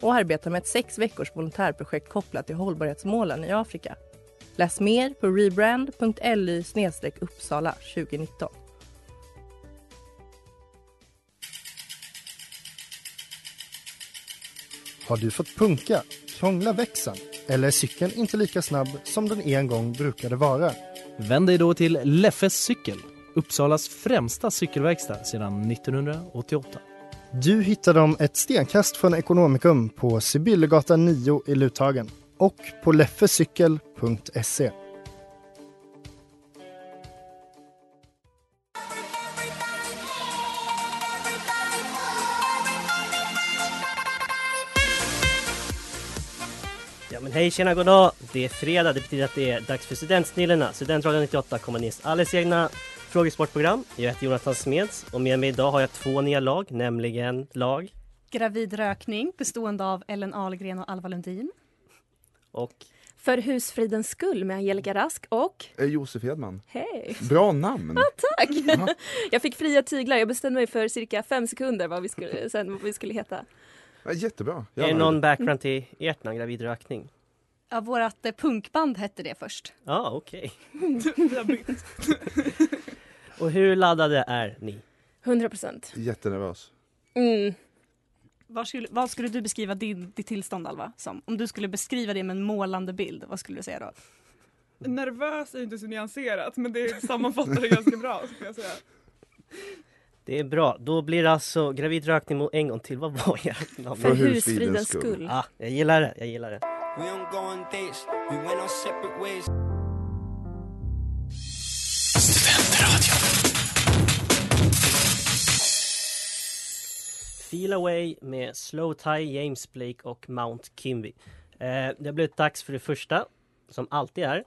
och arbeta med ett sex veckors volontärprojekt kopplat till hållbarhetsmålen i Afrika. Läs mer på rebrand.ly uppsala 2019. Har du fått punka, krångla växeln eller är cykeln inte lika snabb som den en gång brukade vara? Vänd dig då till Leffes cykel, Uppsalas främsta cykelverkstad sedan 1988. Du hittar dem ett stenkast från Ekonomikum på Sibyllegatan 9 i Luthagen och på leffecykel.se. Ja men hej tjena goddag! Det är fredag, det betyder att det är dags för Studentsnillena, Studentradion 98 kommunist alldeles egna frågesportprogram. Jag heter Jonathan Smeds och med mig idag har jag två nya lag, nämligen lag Gravid rökning bestående av Ellen Ahlgren och Alva Lundin. och För husfridens skull med Angelica Rask och Eh, Josef Hedman. hej, Bra namn! tack! jag fick fria tyglar. Jag bestämde mig för cirka fem sekunder vad vi skulle, sen vad vi skulle heta. Ja, jättebra. är det Gärna. någon background till ert namn, Gravid rökning? Ja, vårat eh, punkband hette det först. Ja ah, okej. och hur laddade är ni? 100 procent. Jättenervös. Mm. Vad skulle, vad skulle du beskriva din, ditt tillstånd Alva som? Om du skulle beskriva det med en målande bild, vad skulle du säga då? Nervös är ju inte så nyanserat men det sammanfattar det ganska bra skulle jag säga. Det är bra, då blir det alltså Gravid rökning mot- en gång till. Vad var ert namn? För För husfridens husfridens skull. skull. Ah, jag gillar det, jag gillar det. Feel Away med Slow Tie, James Blake och Mount Kimby. Eh, det har blivit dags för det första, som alltid är.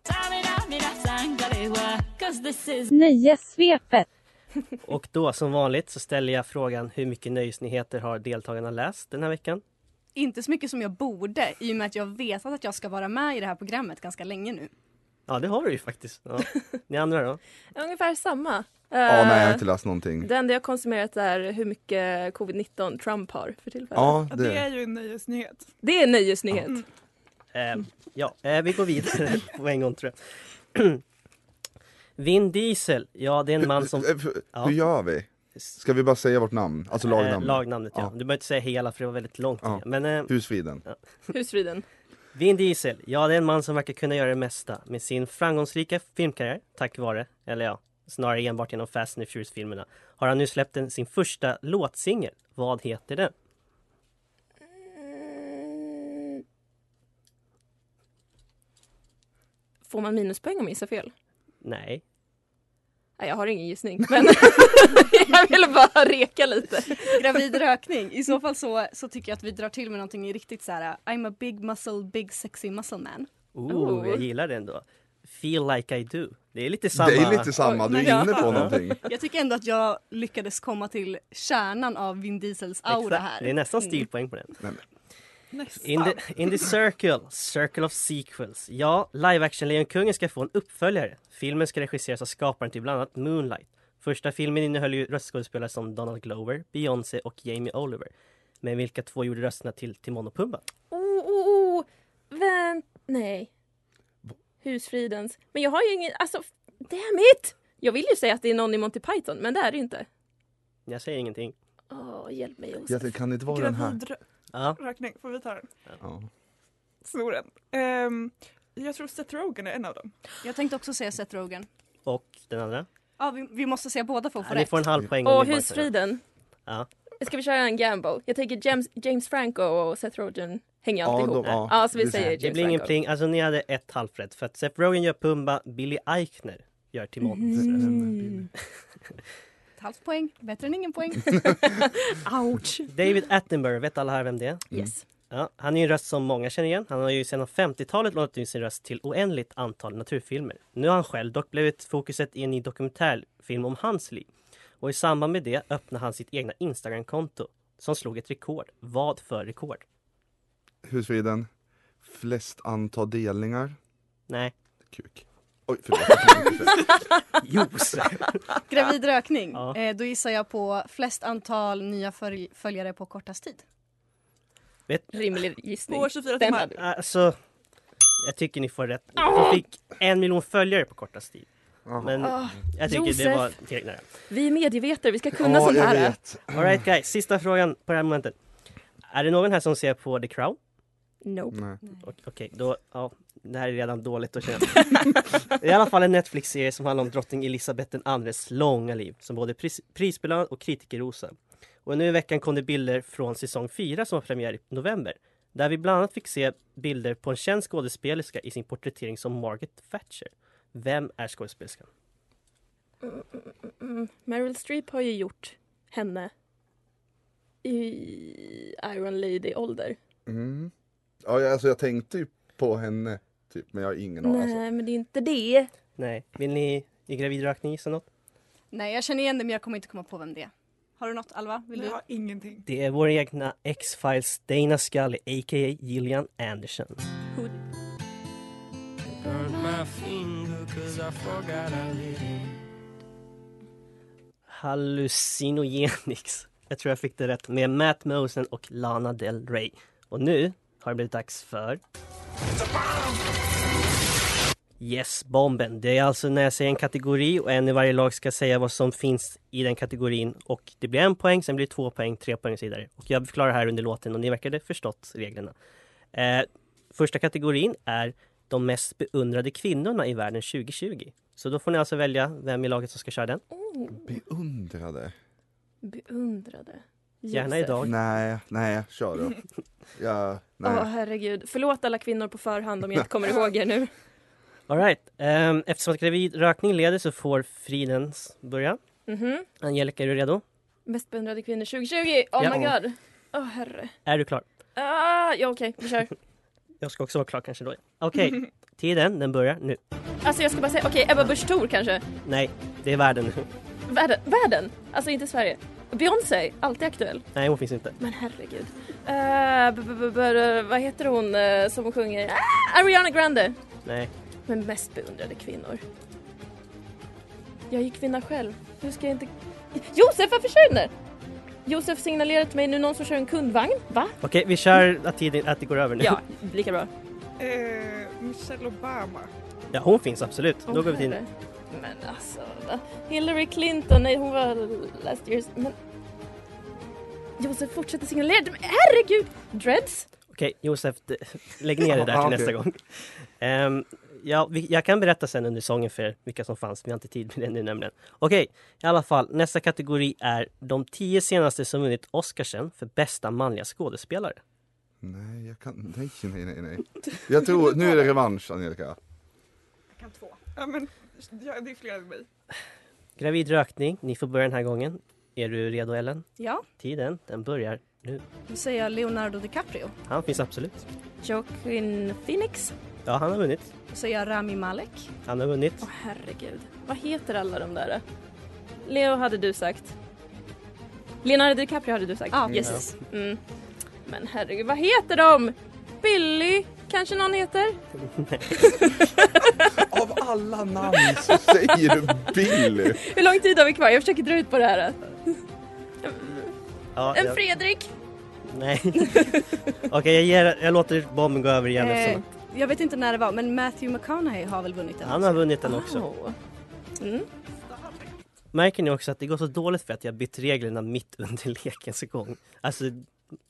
Nöjessvepet. Och då som vanligt så ställer jag frågan hur mycket nöjesnyheter har deltagarna läst den här veckan? Inte så mycket som jag borde i och med att jag vetat att jag ska vara med i det här programmet ganska länge nu. Ja det har du ju faktiskt. Ja. Ni andra då? Ungefär samma. Ja, nej, jag har Eh, inte läst någonting. det enda jag konsumerat är hur mycket covid-19 Trump har för tillfället. Ja, Ja, det är det. ju en nöjesnyhet. Det är en nöjesnyhet. Eh, ja, eh, vi går vidare på en gång tror jag. Vin Diesel, ja det är en man som... Eh, för- Ja. Hur gör vi? Ska vi bara säga vårt namn? Alltså Eh, lagnamn? lagnamnet ja. Ja. Du behöver inte säga hela för det var väldigt långt. Ja. Men eh, Husfriden. Husfriden. Vin Diesel, ja det är en man som verkar kunna göra det mesta med sin framgångsrika filmkarriär, tack vare, eller ja, snarare enbart genom Fast and the Furious-filmerna, har han nu släppt en, sin första låtsingel. Vad heter den? Får man minuspoäng om jag gissar fel? Nej. Nej, jag har ingen gissning. Men jag ville bara reka lite. Gravid rökning, i så fall så, så tycker jag att vi drar till med någonting riktigt så här. I'm a big muscle, big sexy muscle man. Oh, Oh. jag gillar den då. Feel like I do. Det är lite samma. Det är lite samma, du Oj, är nej. inne på någonting. Jag tycker ändå att jag lyckades komma till kärnan av Vin Diesels aura Exakt. här. Mm. Det är nästan stilpoäng på den. Nej, In the, in the Circle, Circle of Sequels. Ja, live action Lejonkungen ska få en uppföljare. Filmen ska regisseras av skaparen till bland annat Moonlight. Första filmen innehöll ju röstskådespelare som Donald Glover, Beyoncé och Jamie Oliver. Men vilka två gjorde rösterna till Timon och Pumba? Oh, oh, oh. Vänt... Nej. Husfridens. Men jag har ju ingen... Alltså, damn it! Jag vill ju säga att det är någon i Monty Python, men det är det ju inte. Jag säger ingenting. Åh, hjälp mig Jag Josef. tänkte, kan det inte vara den här? Gravid rö- Ja, rökning, får vi ta den? Ja. Snoren. Ehm, jag tror Seth Rogen är en av dem. Jag tänkte också säga Seth Rogen. och den andra? Ja, vi, vi måste säga båda för att få Ni rätt. får en halv poäng. om Åh, ni bara säger. husfriden. Ja. Ska vi köra en gambo? Jag tänker James, James Franco och Seth Rogen hänger ju Ja, alltid de- ihop. ja. ja, så vi Det- säger James Det blir ingen Franco. pling. Alltså ni hade ett halvt rätt. För att Seth Rogen gör Pumba, Billy Eichner gör Timon. Mm. Ett halvt poäng. Bättre än ingen poäng. Ouch! David Attenborough, vet alla här vem det är? Yes. Ja, Ja, han är ju en röst som många känner igen. Han har ju sedan 50-talet lånat ut sin röst till oändligt antal naturfilmer. Nu har han själv dock blivit fokuset i en ny dokumentärfilm om hans liv. Och i samband med det öppnade han sitt egna Instagram-konto som slog ett rekord. Vad för rekord? Husfriden. Flest antal delningar. Nej, Kuk. Oj, förlåt. juice! Gravid rökning. Ja. Eh, då gissar jag på flest antal nya följ- följare på kortast tid. Vet, Rimlig gissning. På 24 Den timmar. hade vi. alltså, jag tycker ni får rätt. Han fick en miljon följare på kortast tid. Men Ah, jag tycker det Josef. var tillräckligt nära. Vi är medievetare, vi ska kunna Ja, sånt jag här. vet. Alright guys, sista frågan på det här momentet. Är det någon här som ser på The Crown? Nope. Nej. O- Okej, då, ja, det här är redan dåligt att känna. I alla fall en Netflix-serie som handlar om drottning Elisabeth IIs långa liv som både pris, prisbelönad och kritikerrosad. Och nu i veckan kom det bilder från säsong 4 som har premiär i november. Där vi bland annat fick se bilder på en känd skådespelerska i sin porträttering som Margaret Thatcher. Vem är skådespelerskan? Mm, mm, mm. Meryl Streep har ju gjort henne i Iron Lady-ålder. Mm. Ja, jag- alltså jag tänkte ju på henne, typ, men jag har ingen aning. Alltså. Nej, men det är inte det. Nej, vill ni i gravidrökning gissa något? Nej, jag känner igen det men jag kommer inte komma på vem det är. Har du något Alva? Vill Jag du? har ingenting. Det är vår egna X-Files Dana Scully, a.k.a. Gillian Anderson. Hallucinogenics. Jag tror jag fick det rätt med Matt Mosen och Lana Del Rey. Och nu har det blivit dags för... Yes, bomben. Det är alltså när jag säger en kategori och en i varje lag ska säga vad som finns i den kategorin. Och det blir en poäng, sen blir det två poäng, tre poäng och så vidare. Och jag förklarar här under låten och ni verkade förstått reglerna. Eh, första kategorin är de mest beundrade kvinnorna i världen 2020. Så då får ni alltså välja vem i laget som ska köra den. Oh, Beundrade? beundrade. Gärna Josef. idag. Nej, nej, kör då. Ja, Åh, nej. herregud. Förlåt alla kvinnor på förhand om jag inte kommer ihåg er nu. Alright, um, eftersom att gravid rökning leder så får fridens börja. Mhm. Angelica, är du redo? Mest beundrade kvinnor 2020. Oh Ja. my god. Åh, herre. Är du klar? Ah, ja, okej, vi kör. Jag ska också vara klar kanske då. Okej, tiden den börjar nu. Alltså, jag ska bara säga, okej, Ebba Busch Thor kanske. Nej, det är världen nu. Världen, världen! Alltså inte Sverige. Beyoncé, alltid aktuell. Nej, hon finns inte. Men herregud. Eh, b- b- b- vad heter hon eh, som sjunger? Ah, Ariana Grande! Nej, Men mest beundrade kvinnor. Jag är ju kvinna själv. Hur ska jag inte... Josef, varför försvinner! Josef signalerar till mig nu någon som kör en kundvagn. Va? okej, vi kör att, tiden, att det går över nu. Ja, lika bra. Eh, Michelle Obama. Ja, hon finns absolut. då går vi till herre. Men alltså, va? Hillary Clinton, nej hon var last year's... Men... Josef fortsätter signalera, men herregud! Dreads? Okej, Josef, d- lägg ner det där till Ja, nästa okej. gång. Ehm, ja, vi, jag kan berätta sen under sången för er vilka som fanns. Vi har inte tid med det nu nämligen. Okej, i alla fall. Nästa kategori är de tio senaste som vunnit Oscarsen för bästa manliga skådespelare. Nej, jag kan... Nej, nej, nej, nej. Jag tror... Nu är det revansch, Angelica. Jag kan två. Ja, men ja, det är fler än mig. Gravid rökning, ni får börja den här gången. Är du redo Ellen? Ja, Tiden, den börjar nu. då säger jag Leonardo DiCaprio. Han finns absolut. Joaquin Phoenix? Ja, han har vunnit. Då säger jag Rami Malek. Han har vunnit. Åh herregud, vad heter alla de där? Leo hade du sagt. Leonardo DiCaprio hade du sagt. Ja, Yes. precis. Mm. Men herregud, vad heter de? Billy kanske någon heter? Av alla namn så säger du Billy! Hur lång tid har vi kvar? Jag försöker dra ut på det här. Ja, En jag- Fredrik! Nej. Okej, jag, ger, jag låter bomben gå över igen Eh, eftersom jag vet inte när det var men Matthew McConaughey har väl vunnit den? han har vunnit den också. Wow. Mm. Märker ni också att det går så dåligt för att jag bytt reglerna mitt under lekens gång? Alltså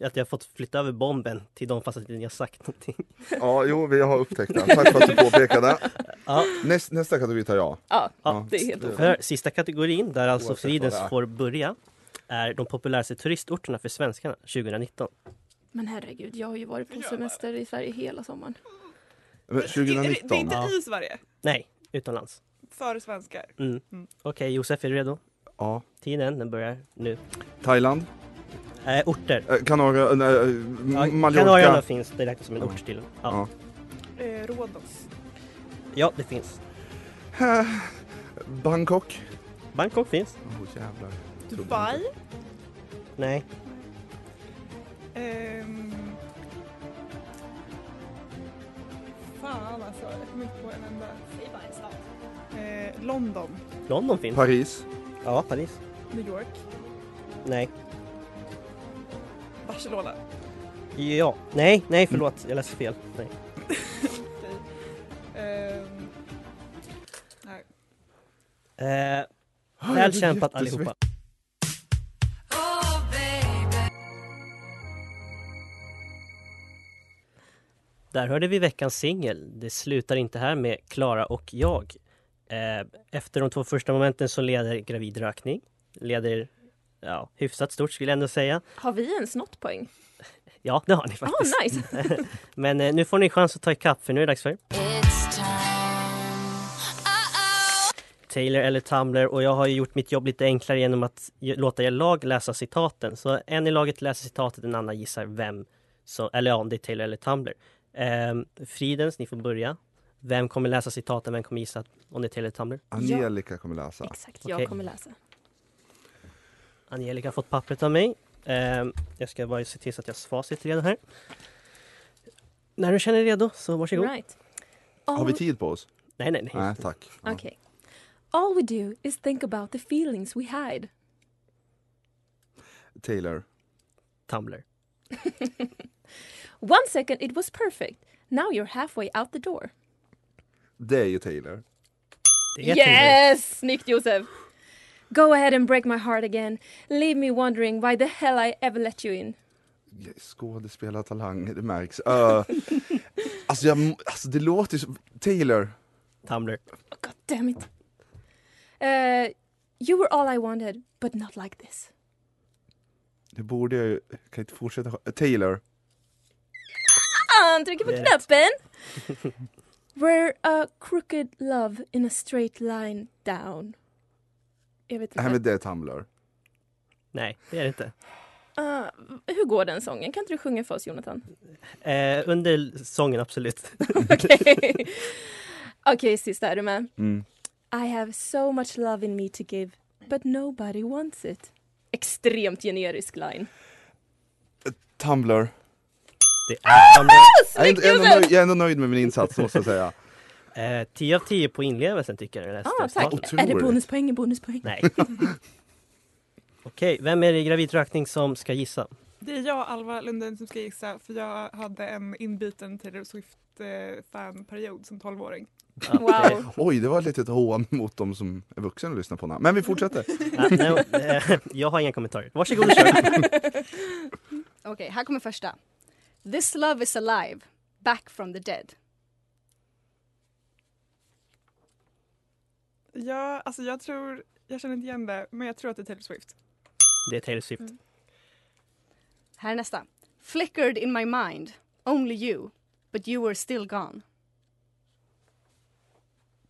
att jag har fått flytta över bomben till dem fast att jag inte har sagt någonting. Ja, jo, vi har upptäckt den. Tack för att du påpekade. Ja. Näst, nästa kategori tar jag. Ja, Ja. det är helt ofattbart. För sista kategorin, där alltså Mm. Oavsett vad det Fridens är. får börja, är de populäraste turistorterna för svenskarna 2019. Men herregud, jag har ju varit på semester i Sverige hela sommaren. Men Det, är- det är 2019? inte Ja. i Sverige. Nej, utomlands. För svenskar. Mm. Mm. Okej, Josef, är du redo? Ja. Tiden, den börjar nu. Thailand? Eh, orter. Eh, Kanara, nej, eh, Ja, Mallorca. Kanarieöarna finns, det räknas som en Ja. ort till. Ja. Ja. Eh, Rhodos. ja, det finns. Eh, Bangkok. Bangkok finns. Åh jävlar. Dubai. Nej. Ehm... Fan alltså, jag kommer inte på en enda. Säg bara en stad. Eh, London. London finns. Paris. Ja, Paris. New York. Nej. Barcelona. Ja. Mm. Nej, nej förlåt. Jag läste fel. Nej. Okej. Ehm... nej. Eh, Ah, jag väl blir kämpat jättesvettig. allihopa. Där hörde vi veckans singel. Det slutar inte här med Klara och jag. Eh, efter de två första momenten så leder gravid rökning. Leder ja, hyfsat stort skulle jag ändå säga. Har vi ens nått poäng? Ja, det har ni Ah, faktiskt. Mm. nice! Men eh, nu får ni chans att ta ikapp för nu är det dags för Taylor eller Tumblr och jag har ju gjort mitt jobb lite enklare genom att ju- låta er lag läsa citaten. Så en i laget läser citatet, en annan gissar vem, så, eller ja, om det är Taylor eller Tumblr. Ehm, Fridens, ni får börja. Vem kommer läsa citaten, vem kommer gissa om det är Taylor eller Tumblr? Angelica kommer läsa. Exakt, jag Okej. kommer läsa. Angelica har fått pappret av mig. Ehm, jag ska bara se till så att jag har facit redan här. När du känner dig redo, så varsågod. Right. Har vi All, tid på oss? Nej, nej, nej. Nej tack. Ja. okay. All we do is think about the feelings we hide. Taylor. Tumblr. One second it was perfect. Now you're halfway out the door. Det är ju Taylor. Det är Taylor. Yes! Snyggt Josef! Go ahead and break my heart again. Leave me wondering why the hell I ever let you in. Skådespelartalang, det märks. Uh, alltså, jag, alltså det låter ju som... Taylor. Tumblr. Oh, God damn it. Uh, you were all I wanted, but not like this. Det borde jag ju... jag Kan inte fortsätta... sk- Taylor. Han trycker på Det är knappen! We're a crooked love in a straight line down. Jag vet Nej inte. men det är Tumblr. Nej, det är det inte. Ah, hur går den sången? Kan inte du sjunga för oss, Jonathan? Eh, under sången, absolut. Okej, okay, sista. Är du med? Mm. I have so much love in me to give, but nobody wants it. Extremt generisk line. Tumblr. Det är Tumblr. Jag är, ändå, Snyggt, jag är ändå Josef! nöjd, jag är ändå nöjd med min insats måste jag säga. Eh, 10 av 10 på inlevelsen tycker jag. när jag läste Ah, tack. resultatet. Är det Otroligt. bonuspoäng? Är bonuspoäng? Nej. Okej, vem är det i gravidrökning som ska gissa? Det är jag, Alva Lundin, som ska gissa för jag hade en inbiten Taylor Swift-fanperiod som 12-åring. Ja, Wow. Oj, det var ett litet hån mot de som är vuxna och lyssnar på den här. Men vi fortsätter. det- ja, nej, eh, jag har inga kommentarer. Varsågod och kör. Okej, här kommer första. This love is alive, back from the dead. Ja, alltså jag tror, jag känner inte igen det, men jag tror att det är Taylor Swift. Det är Taylor Swift. Här är nästa. Flickered in my mind, only you, but you were still gone.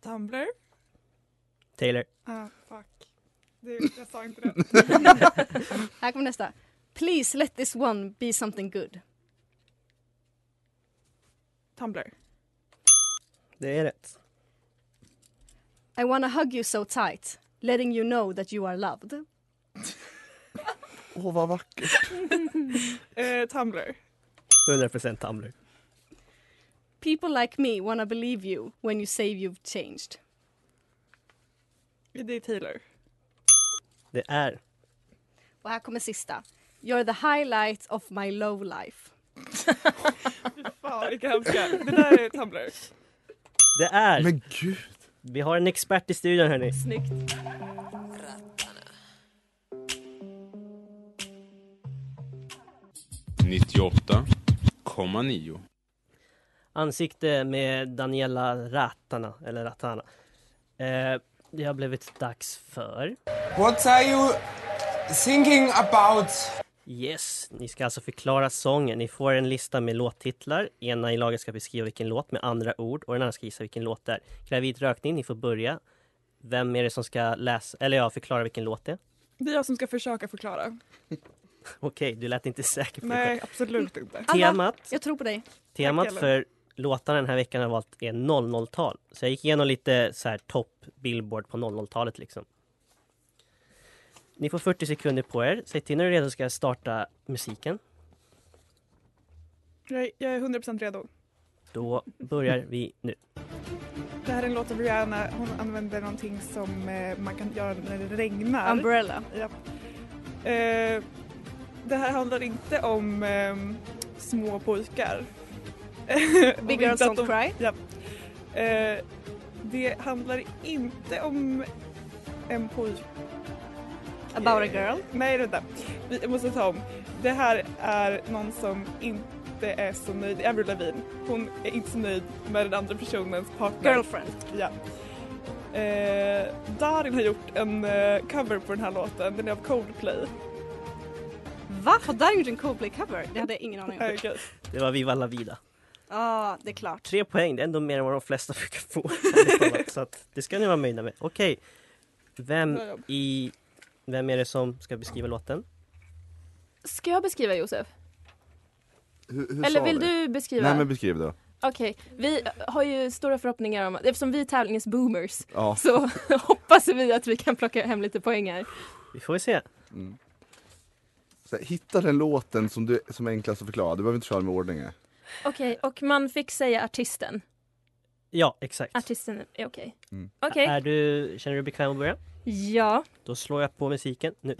Tumblr? Taylor. Ah, fuck. Det, jag sa inte det. Här kommer nästa. Please let this one be something good. Tumblr. Det är rätt. I wanna hug you so tight, letting you know that you are loved. Åh, vad vackert. Eh, Tumblr. 100% Tumblr. People like me wanna believe you when you say you've changed. Det är Taylor. Det är. Och här kommer sista. You're the highlight of my low life. Fan vilka hemska. Det där är Tumblr. Det är. Men gud. Vi har en expert i studion hörni. Snyggt. Ansikte med Daniela Ratana, eller Ratana. Eh, det har blivit dags för... What are you thinking about? Yes, ni ska alltså förklara sången. Ni får en lista med låttitlar. Ena i laget ska beskriva vilken låt med andra ord och den andra ska gissa vilken låt det är. Gravid rökning, ni får börja. Vem är det som ska läsa, eller ja, förklara vilken låt det är? Det är jag som ska försöka förklara. Okej, du lät inte säker på det. Nej, absolut inte. Alla, Temat, jag tror på dig. temat Ellen. för låtarna den här veckan har valt är 00-tal. Så jag gick igenom lite så här topp Billboard på 00-talet liksom. Ni får 40 sekunder på er. Säg till när du är redo så ska jag starta musiken. Jag, jag är 100% redo. Då börjar vi nu. Det här är en låt av Rihanna. Hon använder någonting som eh, man kan göra när det regnar. Umbrella. Ja. Eh, det här handlar inte om ehm, små pojkar. Om Big inte Girls att Don't Cry. Ja. Eh, det handlar inte om en pojke. About a girl. Nej, vänta. Vi jag måste ta om. Det här är någon som inte är så nöjd. Avril Lavigne. Hon är inte så nöjd med den andra personens partner. Girlfriend. Ja. Eh, Darin har gjort en eh, cover på den här låten. Den är av Coldplay. Va? Har Darin gjort en Coldplay-cover? Det hade jag ingen aning om. Eh, okej. Det var Viva La Vida. ah, det är klart. Tre poäng, det är ändå mer än vad de flesta brukar få. så att det ska ni vara nöjda med. Okej, vem Bra jobb. i... Vem är det som ska beskriva låten? Ska jag beskriva Josef? Hur, hur Eller sa vill vi? du beskriva? Nej men beskriv då. Okej, vi har ju stora förhoppningar om att eftersom vi är tävlingens boomers Ja. så hoppas vi att vi kan plocka hem lite poäng här. Vi får väl se. Mm. Så här, hitta den låten som, du, som är enklast att förklara. Du behöver inte köra med ordning. här. Okej, och man fick säga artisten. Ja, exakt. Artisten är okej. Mm. Okej, Är du, känner du dig bekväm att börja? ja. Då slår jag på musiken nu.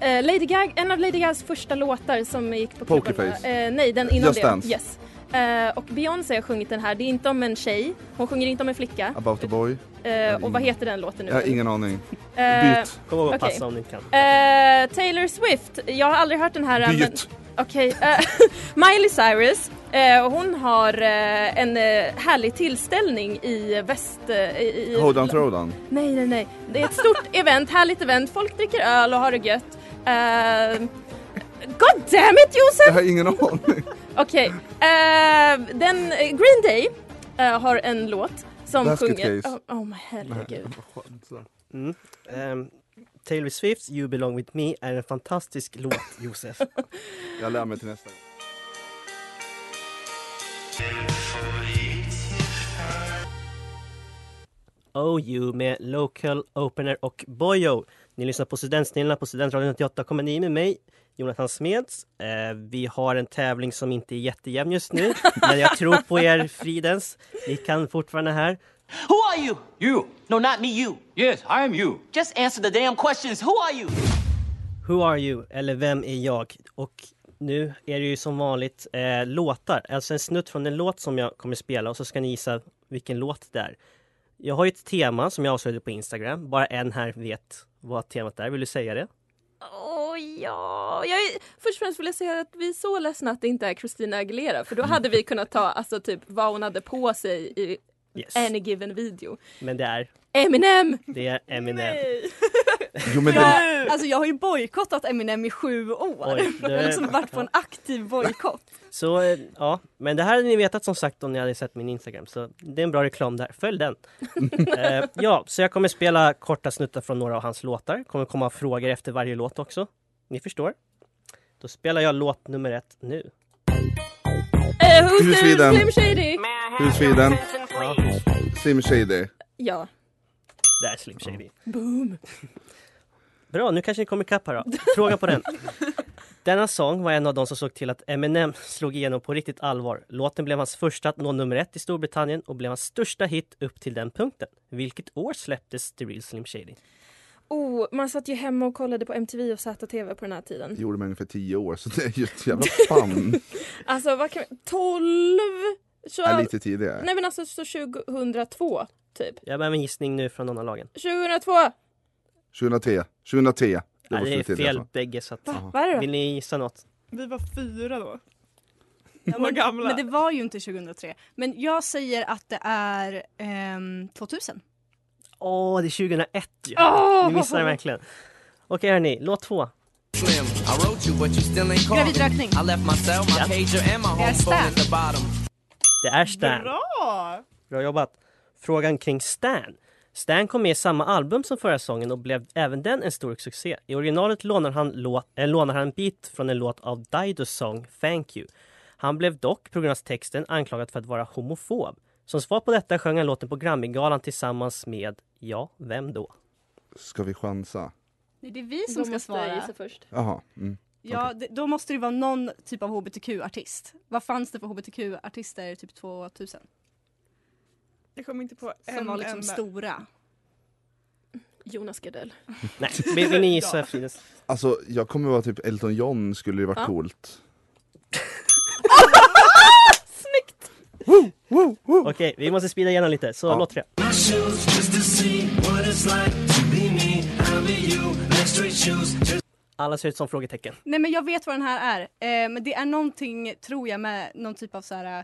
Eh, Lady Gaga, en av Lady Gagas första låtar som gick på Poker klubbarna. Face. Eh, nej, den innan Just det. Dance. Yes. Eh, och Beyoncé har sjungit den här. Det är inte om en tjej. Hon sjunger inte om en flicka. About a boy. Eh, och vad ingen- heter den låten nu? Jag har ingen aning. Eh, Byt. Kom ihåg att Okej. passa om ni inte kan. eh, Taylor Swift. Jag har aldrig hört den här. men- Byt. Okej. eh, Miley Cyrus. Eh, och hon har eh, en eh, härlig tillställning i väst... eh, i, i, Hold on throw down. Nej, nej, nej. Det är ett stort event, härligt event. Folk dricker öl och har det gött. Eh, God damn it Jag Josef! har ingen aning. Okej, eh, den eh, Green Day eh, har en låt som Basket sjunger... Case. Oh, oh my herregud. Vad skönt, så. Mm. Ehm, Taylor Swifts You belong with me är en fantastisk låt, Josef. Jag lär mig till nästa gång. OU med Local Opener och Boyo. Ni lyssnar på Studentsnillena på Studentradion 98,9 med mig, Jonathan Smeds. Eh, vi har en tävling som inte är jättejämn just nu, men jag tror på er Fridens. Ni kan fortfarande här. Who are you? You. No, not me, you. Yes, I am you. Just answer the damn questions. Who are you? Who are you? Eller Vem är jag? Och nu är det ju som vanligt eh, låtar, alltså en snutt från en låt som jag kommer spela och så ska ni gissa vilken låt det är. Jag har ju ett tema som jag avslöjade på Instagram, bara en här vet vad temat är. Vill du säga det? Åh ja, jag är, först och främst vill jag säga att vi är så ledsna att det inte är Christina Aguilera för då Mm. hade vi kunnat ta alltså typ vad hon hade på sig i Yes. any given video. Men det är, Eminem! det är Eminem. Jo men den, Jag, alltså jag har ju bojkottat Eminem i sju år. Oj, det- Jag har liksom varit på en aktiv bojkott. Så eh, ja, men det här hade ni vetat som sagt om ni hade sett min Instagram. Så det är en bra reklam där. Följ den! eh, ja, så jag kommer spela korta snuttar från några av hans låtar. Kommer komma frågor efter varje låt också. Ni förstår. Då spelar jag låt nummer ett nu. Eh, who's Who's the Sweden? Slim Shady? Who's Sweden? Ja, Sim Shady. Ja. där är Slim Shady. Boom! Bra, nu kanske ni kommer ikapp här då. Fråga på den. Denna sång var en av de som såg till att Eminem slog igenom på riktigt allvar. Låten blev hans första att nå nummer ett i Storbritannien och blev hans största hit upp till den punkten. Vilket år släpptes The Real Slim Shady? Oh, man satt ju hemma och kollade på MTV och ZTV på den här tiden. Det gjorde mig ungefär tio år så det är ju ett jävla spann. Alltså vad kan vi... 12? Ja, 20... lite tidigare. Nej men alltså så 2002 typ. Jag behöver en gissning nu från någon av lagen. 2002! 2003. 2003. Det Det, var Nej, det är tidigare, fel så. bägge så att... Vad är det då? Vill ni gissa något? Vi var fyra då. Ja, Vad men, gamla. men det var ju inte 2003. Men jag säger att det är ehm, 2000. Åh, det är 2001 ju! Åh! Ni missade verkligen. Okej hörni, låt två. Slim. I wrote you, but you still ain't called. Gravid rökning. I left my cell, my pager, and my home Yes, phone Stan. at the bottom. Det är Stan. Bra! Bra jobbat. Frågan kring Stan. Stan kom med i samma album som förra sången och blev även den en stor succé. I originalet lånar han, låt, eh, lånar han en bit från en låt av Didos sång Thank You. Han blev dock, på grund av texten, anklagad för att vara homofob. Som svar på detta sjöng han låten på Grammygalan tillsammans med, ja, vem då? Ska vi chansa? Nej, det är vi som Då ska måste svara. jag gissa först. Jaha. Mm. Ja, det, då måste det vara någon typ av hbtq-artist. Vad fanns det för hbtq-artister typ 2000? Jag kommer inte på en Som var liksom enda. stora. Jonas Gardell. Nej, vill, vill ni gissa? Fridens? Alltså jag kommer vara typ Elton John skulle ju varit Ja. coolt. Okej, vi måste speeda igenom lite, så låt det. My shoes just to see what it's like to be me. I'll be you. Let's trade shoes. Just Alla ser ut som frågetecken. Nej men jag vet vad den här är. Eh, men det är någonting, tror jag, med någon typ av så här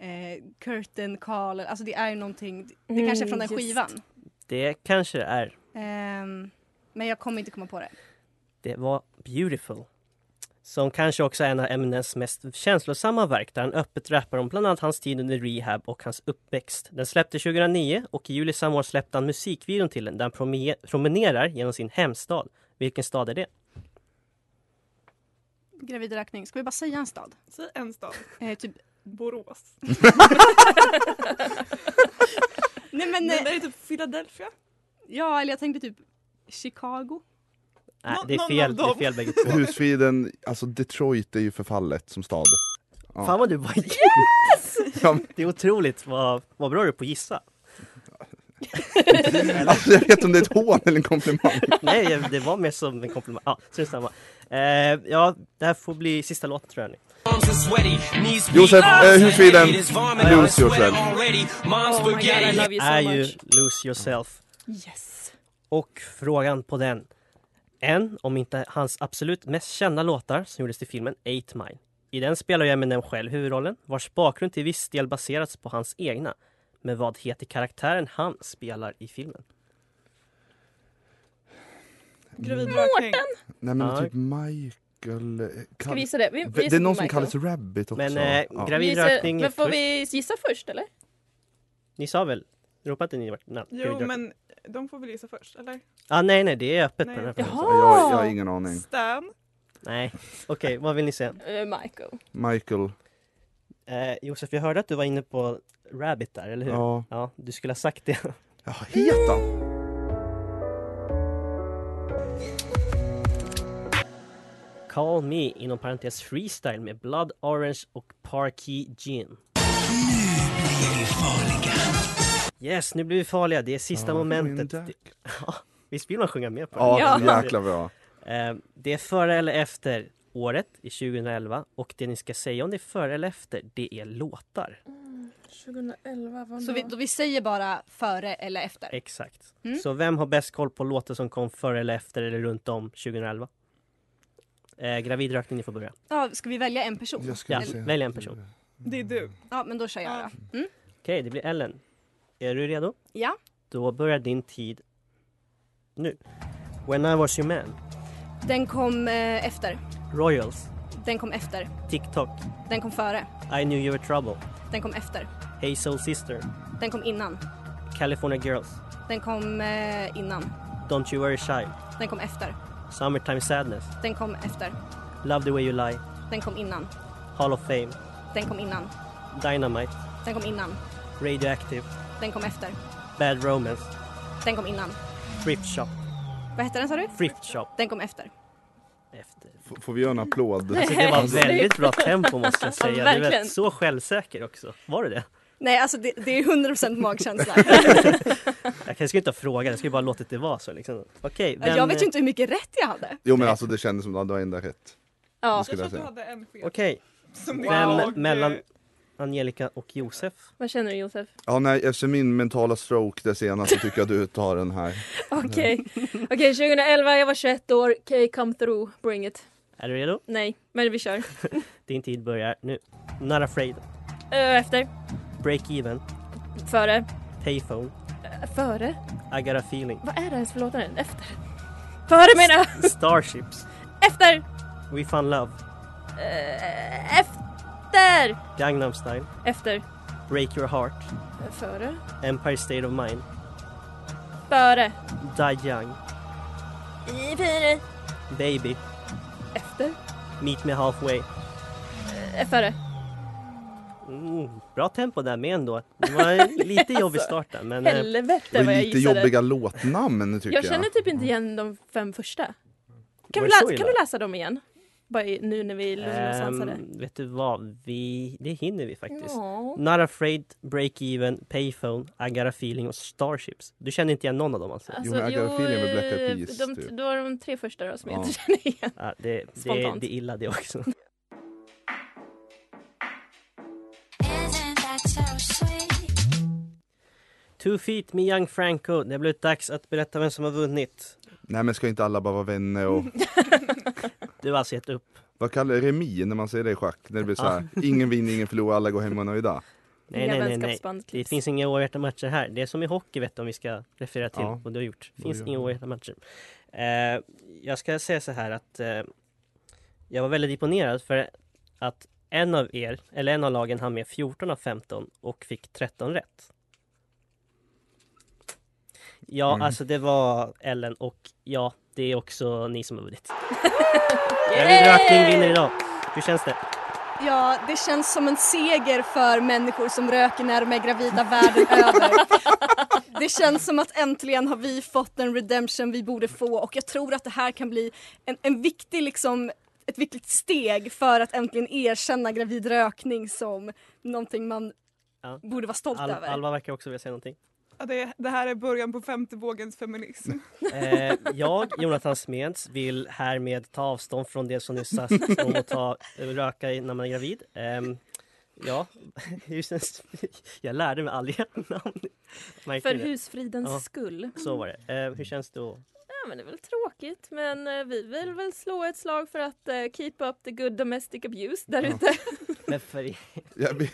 eh, curtain call. Alltså det är ju någonting. Det Mm, kanske är från den just. skivan. Det kanske det är. Ehm, men jag kommer inte komma på det. Det var Beautiful. Som kanske också är en av Eminens mest känslosamma verk där han öppet rappar om bland annat hans tid under rehab och hans uppväxt. Den släpptes 2009 och i juli samma år släppte han musikvideon till den där han prome- promenerar genom sin hemstad. Vilken stad är det? Gravid räkning. Ska vi bara säga en stad? Säg en stad. Eh, typ... Borås. Nej men... Den där Eh, är typ Philadelphia. ja eller jag tänkte typ Chicago. Nej, Nå- det är någon fel. av Det är dem. fel bägge två. Husfriden, alltså Detroit är ju förfallet som stad. Ja. Fan vad du var Det är otroligt vad, vad bra du är på att gissa. Alltså, jag vet inte om det är ett hån eller en komplimang. Nej, det var mer som en komplimang. Ja, så är det samma. Eh, ja, det här får bli sista låten tror jag. nu. arms are sweaty, knees Josef, arms eh, are husfriden. heavy, there's vomit on Lose the sweater yourself. already. Mom's Oh my God, I spaghetti. love you so är much. ju Lose Yourself. Yes. Och frågan på den. En, om inte hans absolut mest kända låtar som gjordes till filmen 8 Mile. I den spelar ju Eminem själv huvudrollen, vars bakgrund till viss del baserats på hans egna. Men vad heter karaktären han spelar i filmen? Gravidrökning. Nej men Ja. typ Michael... eh, Ska Kall- vi gissa det? Vi, vi Det är någon som kallas Rabbit också. Men, eh, gravid gissar- rökning Men får först. vi gissa först eller? Ni sa väl? Ropade inte ni vart? na- Jo gravidrökning? men de får väl gissa först eller? Ah, nej, nej, det är öppet Nej, på den här okej. frågan. Jag, jag har ingen aning. Stan. Nej, okej, vad vill ni säga? Eh, Michael. Michael. Eh, Josef, jag hörde att du var inne på Rabbit där, eller hur? Ja. ja du skulle ha sagt det. Ja, heter han? Call Me inom parentes Freestyle med Blood Orange och Parkey Gin. Yes, nu blir vi farliga. Det är sista Ja, momentet. Green Duck. Det- Ja, Visst vill man sjunga med på Ja, det? så jäkla bra. Eh, Det är före eller efter året i 2011 och det ni ska säga om det är före eller efter, det är låtar. 2011, Mm, vad Så vi, då vi säger bara före eller efter. Exakt. Mm. Så vem har bäst koll på låtar som kom före eller efter eller runt om 2011? Eh, gravid rökning, ni får börja. Ja, ska vi välja en person? Jag skulle Ja, säga. välj en person. Det är du. Ja, men då kör jag då. Mm. Okej, det blir Ellen. Är du redo? Ja. Då börjar din tid nu. When I was your man. Den kom eh, efter. Royals. Den kom efter. TikTok. Den kom före. I knew you were trouble. Den kom efter. Hey Soul Sister. Den kom innan. California Girls. Den kom eh, innan. Don't you worry child. Den kom efter. Summertime sadness. Den kom efter. Love the way you lie. Den kom innan. Hall of fame. Den kom innan. Dynamite. Den kom innan. Radioactive. Den kom efter. Bad romance. Den kom innan. Thrift shop. Vad hette den sa du? Thrift shop. Den kom efter. Efter. F- får vi göra en applåd? Alltså, det var Alltså, väldigt bra tempo måste jag säga. Ja, du är verkligen. så självsäker också. Var du det? Nej, alltså det, det är 100% magkänsla. Jag kanske inte ha frågat, jag skulle bara låtit det vara så. Liksom. Okej, vem, jag vet ju inte hur mycket rätt jag hade. Jo men alltså det kändes som att du hade ändå rätt. Ja. Det Jag skulle tror jag att du säga. hade en fel. Okej, Som det vem jag- mellan Angelica och Josef? Vad känner du Josef? Ja nej efter min mentala stroke det senaste tycker jag du tar den här. Okej. Okej, 2011, jag var 21 år. K come through, bring it. Är du redo? Nej, men vi kör. Din tid börjar nu. Not afraid. Ö, efter. Break even. Före. Payphone. Ö, Före? I got a feeling. Vad är det ens för låtar? Efter? Före menar jag! Starships. Efter! We found love. Ö, Efter! Gangnam style. Efter. Break your heart. Före. Empire state of mind. Före. Die Young, I före. Baby, Efter. Meet Me Halfway. Eh, Före. Mm, bra tempo där med ändå. Det var en lite Alltså, jobbig start där men... eh, Helvete Och vad jag lite gissade. jobbiga låtnamn tycker Jag jag. känner typ inte igen de fem första. Kan, Var vi det så läsa, kan illa? du läsa dem igen? Bara i, nu när vi um, sansade. Ehm, vet du vad? Vi, det hinner vi faktiskt. Ja. Not afraid, break even, payphone, I got a feeling och starships. Du känner inte igen någon av dem alltså? Alltså, eh, de, Då var de tre första då som jag typ. Ja. inte känner igen. Ja, det, det, det Spontant. är illa det också. Two feet med Young Franco. Det har blivit dags att berätta vem som har vunnit. Nej men ska inte alla bara vara vänner och... Du har alltså gett upp. Vad kallar det remi när man säger det i schack? När det blir så här, Ja. ingen vinner, ingen förlorar, alla går hem och är nöjda. Nej, Inga nej, nej, nej. vänskapsband Det klipps. finns inga oavgjorda matcher här. Det är som i hockey vet du, om vi ska referera till Ja, vad du har gjort. Det vad finns gör inga jag? oavgjorda matcher. Eh, jag ska säga så här att eh, jag var väldigt imponerad för att en av er, eller en av lagen, hann med 14 av 15 och fick 13 rätt. Ja, Mm. alltså det var Ellen och ja, det är också ni som har vunnit. Yay! Elin Rötling vinner idag. Hur känns det? Ja, det känns som en seger för människor som röker när de är gravida världen över. Det känns som att äntligen har vi fått den redemption vi borde få och jag tror att det här kan bli en, en viktig liksom ett viktigt steg för att äntligen erkänna gravid rökning som någonting man Ja. borde vara stolt Al- över. Alva verkar också vilja säga någonting. Ja, det, det här är början på femte vågens feminism. Eh, jag, Jonathan Smeds, vill härmed ta avstånd från det som nyss sades om att ta, röka i- när man är gravid. Ehm, ja, hur känns- jag lärde mig aldrig ert namn. Märkte För ni det? husfridens Ja, skull. Så var det. Eh, hur känns det då? Ja, men det är väl tråkigt, men eh, vi vill väl slå ett slag för att eh, keep up the good domestic abuse där ute. Men för, Jag vill,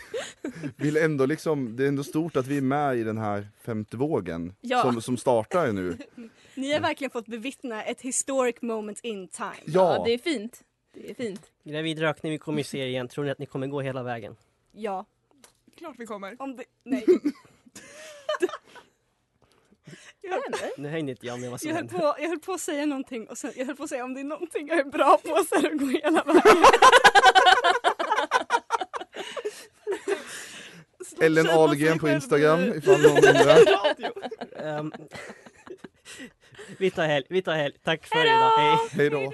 vill ändå liksom, det är ändå stort att vi är med i den här femte vågen Ja. som, som startar nu. Ni har verkligen fått bevittna ett historic moment in time. Ja. Ja, det är fint. Det är fint. gravid rökning, vi kommer ju se er igen. Tror ni att ni kommer gå hela vägen? Ja. Klart vi kommer. Om det, nej. jag, Nu hänger inte jag med vad som jag, höll händer. på, jag höll på att säga någonting och sen, jag höll på att säga om det är någonting jag är bra på så är det att gå hela vägen. Ellen känner man Ahlgren sig på själv Instagram nu. ifall någon undrar. Ehm, vi tar helg, vi tar helg. Tack för idag. Hej! Hej då.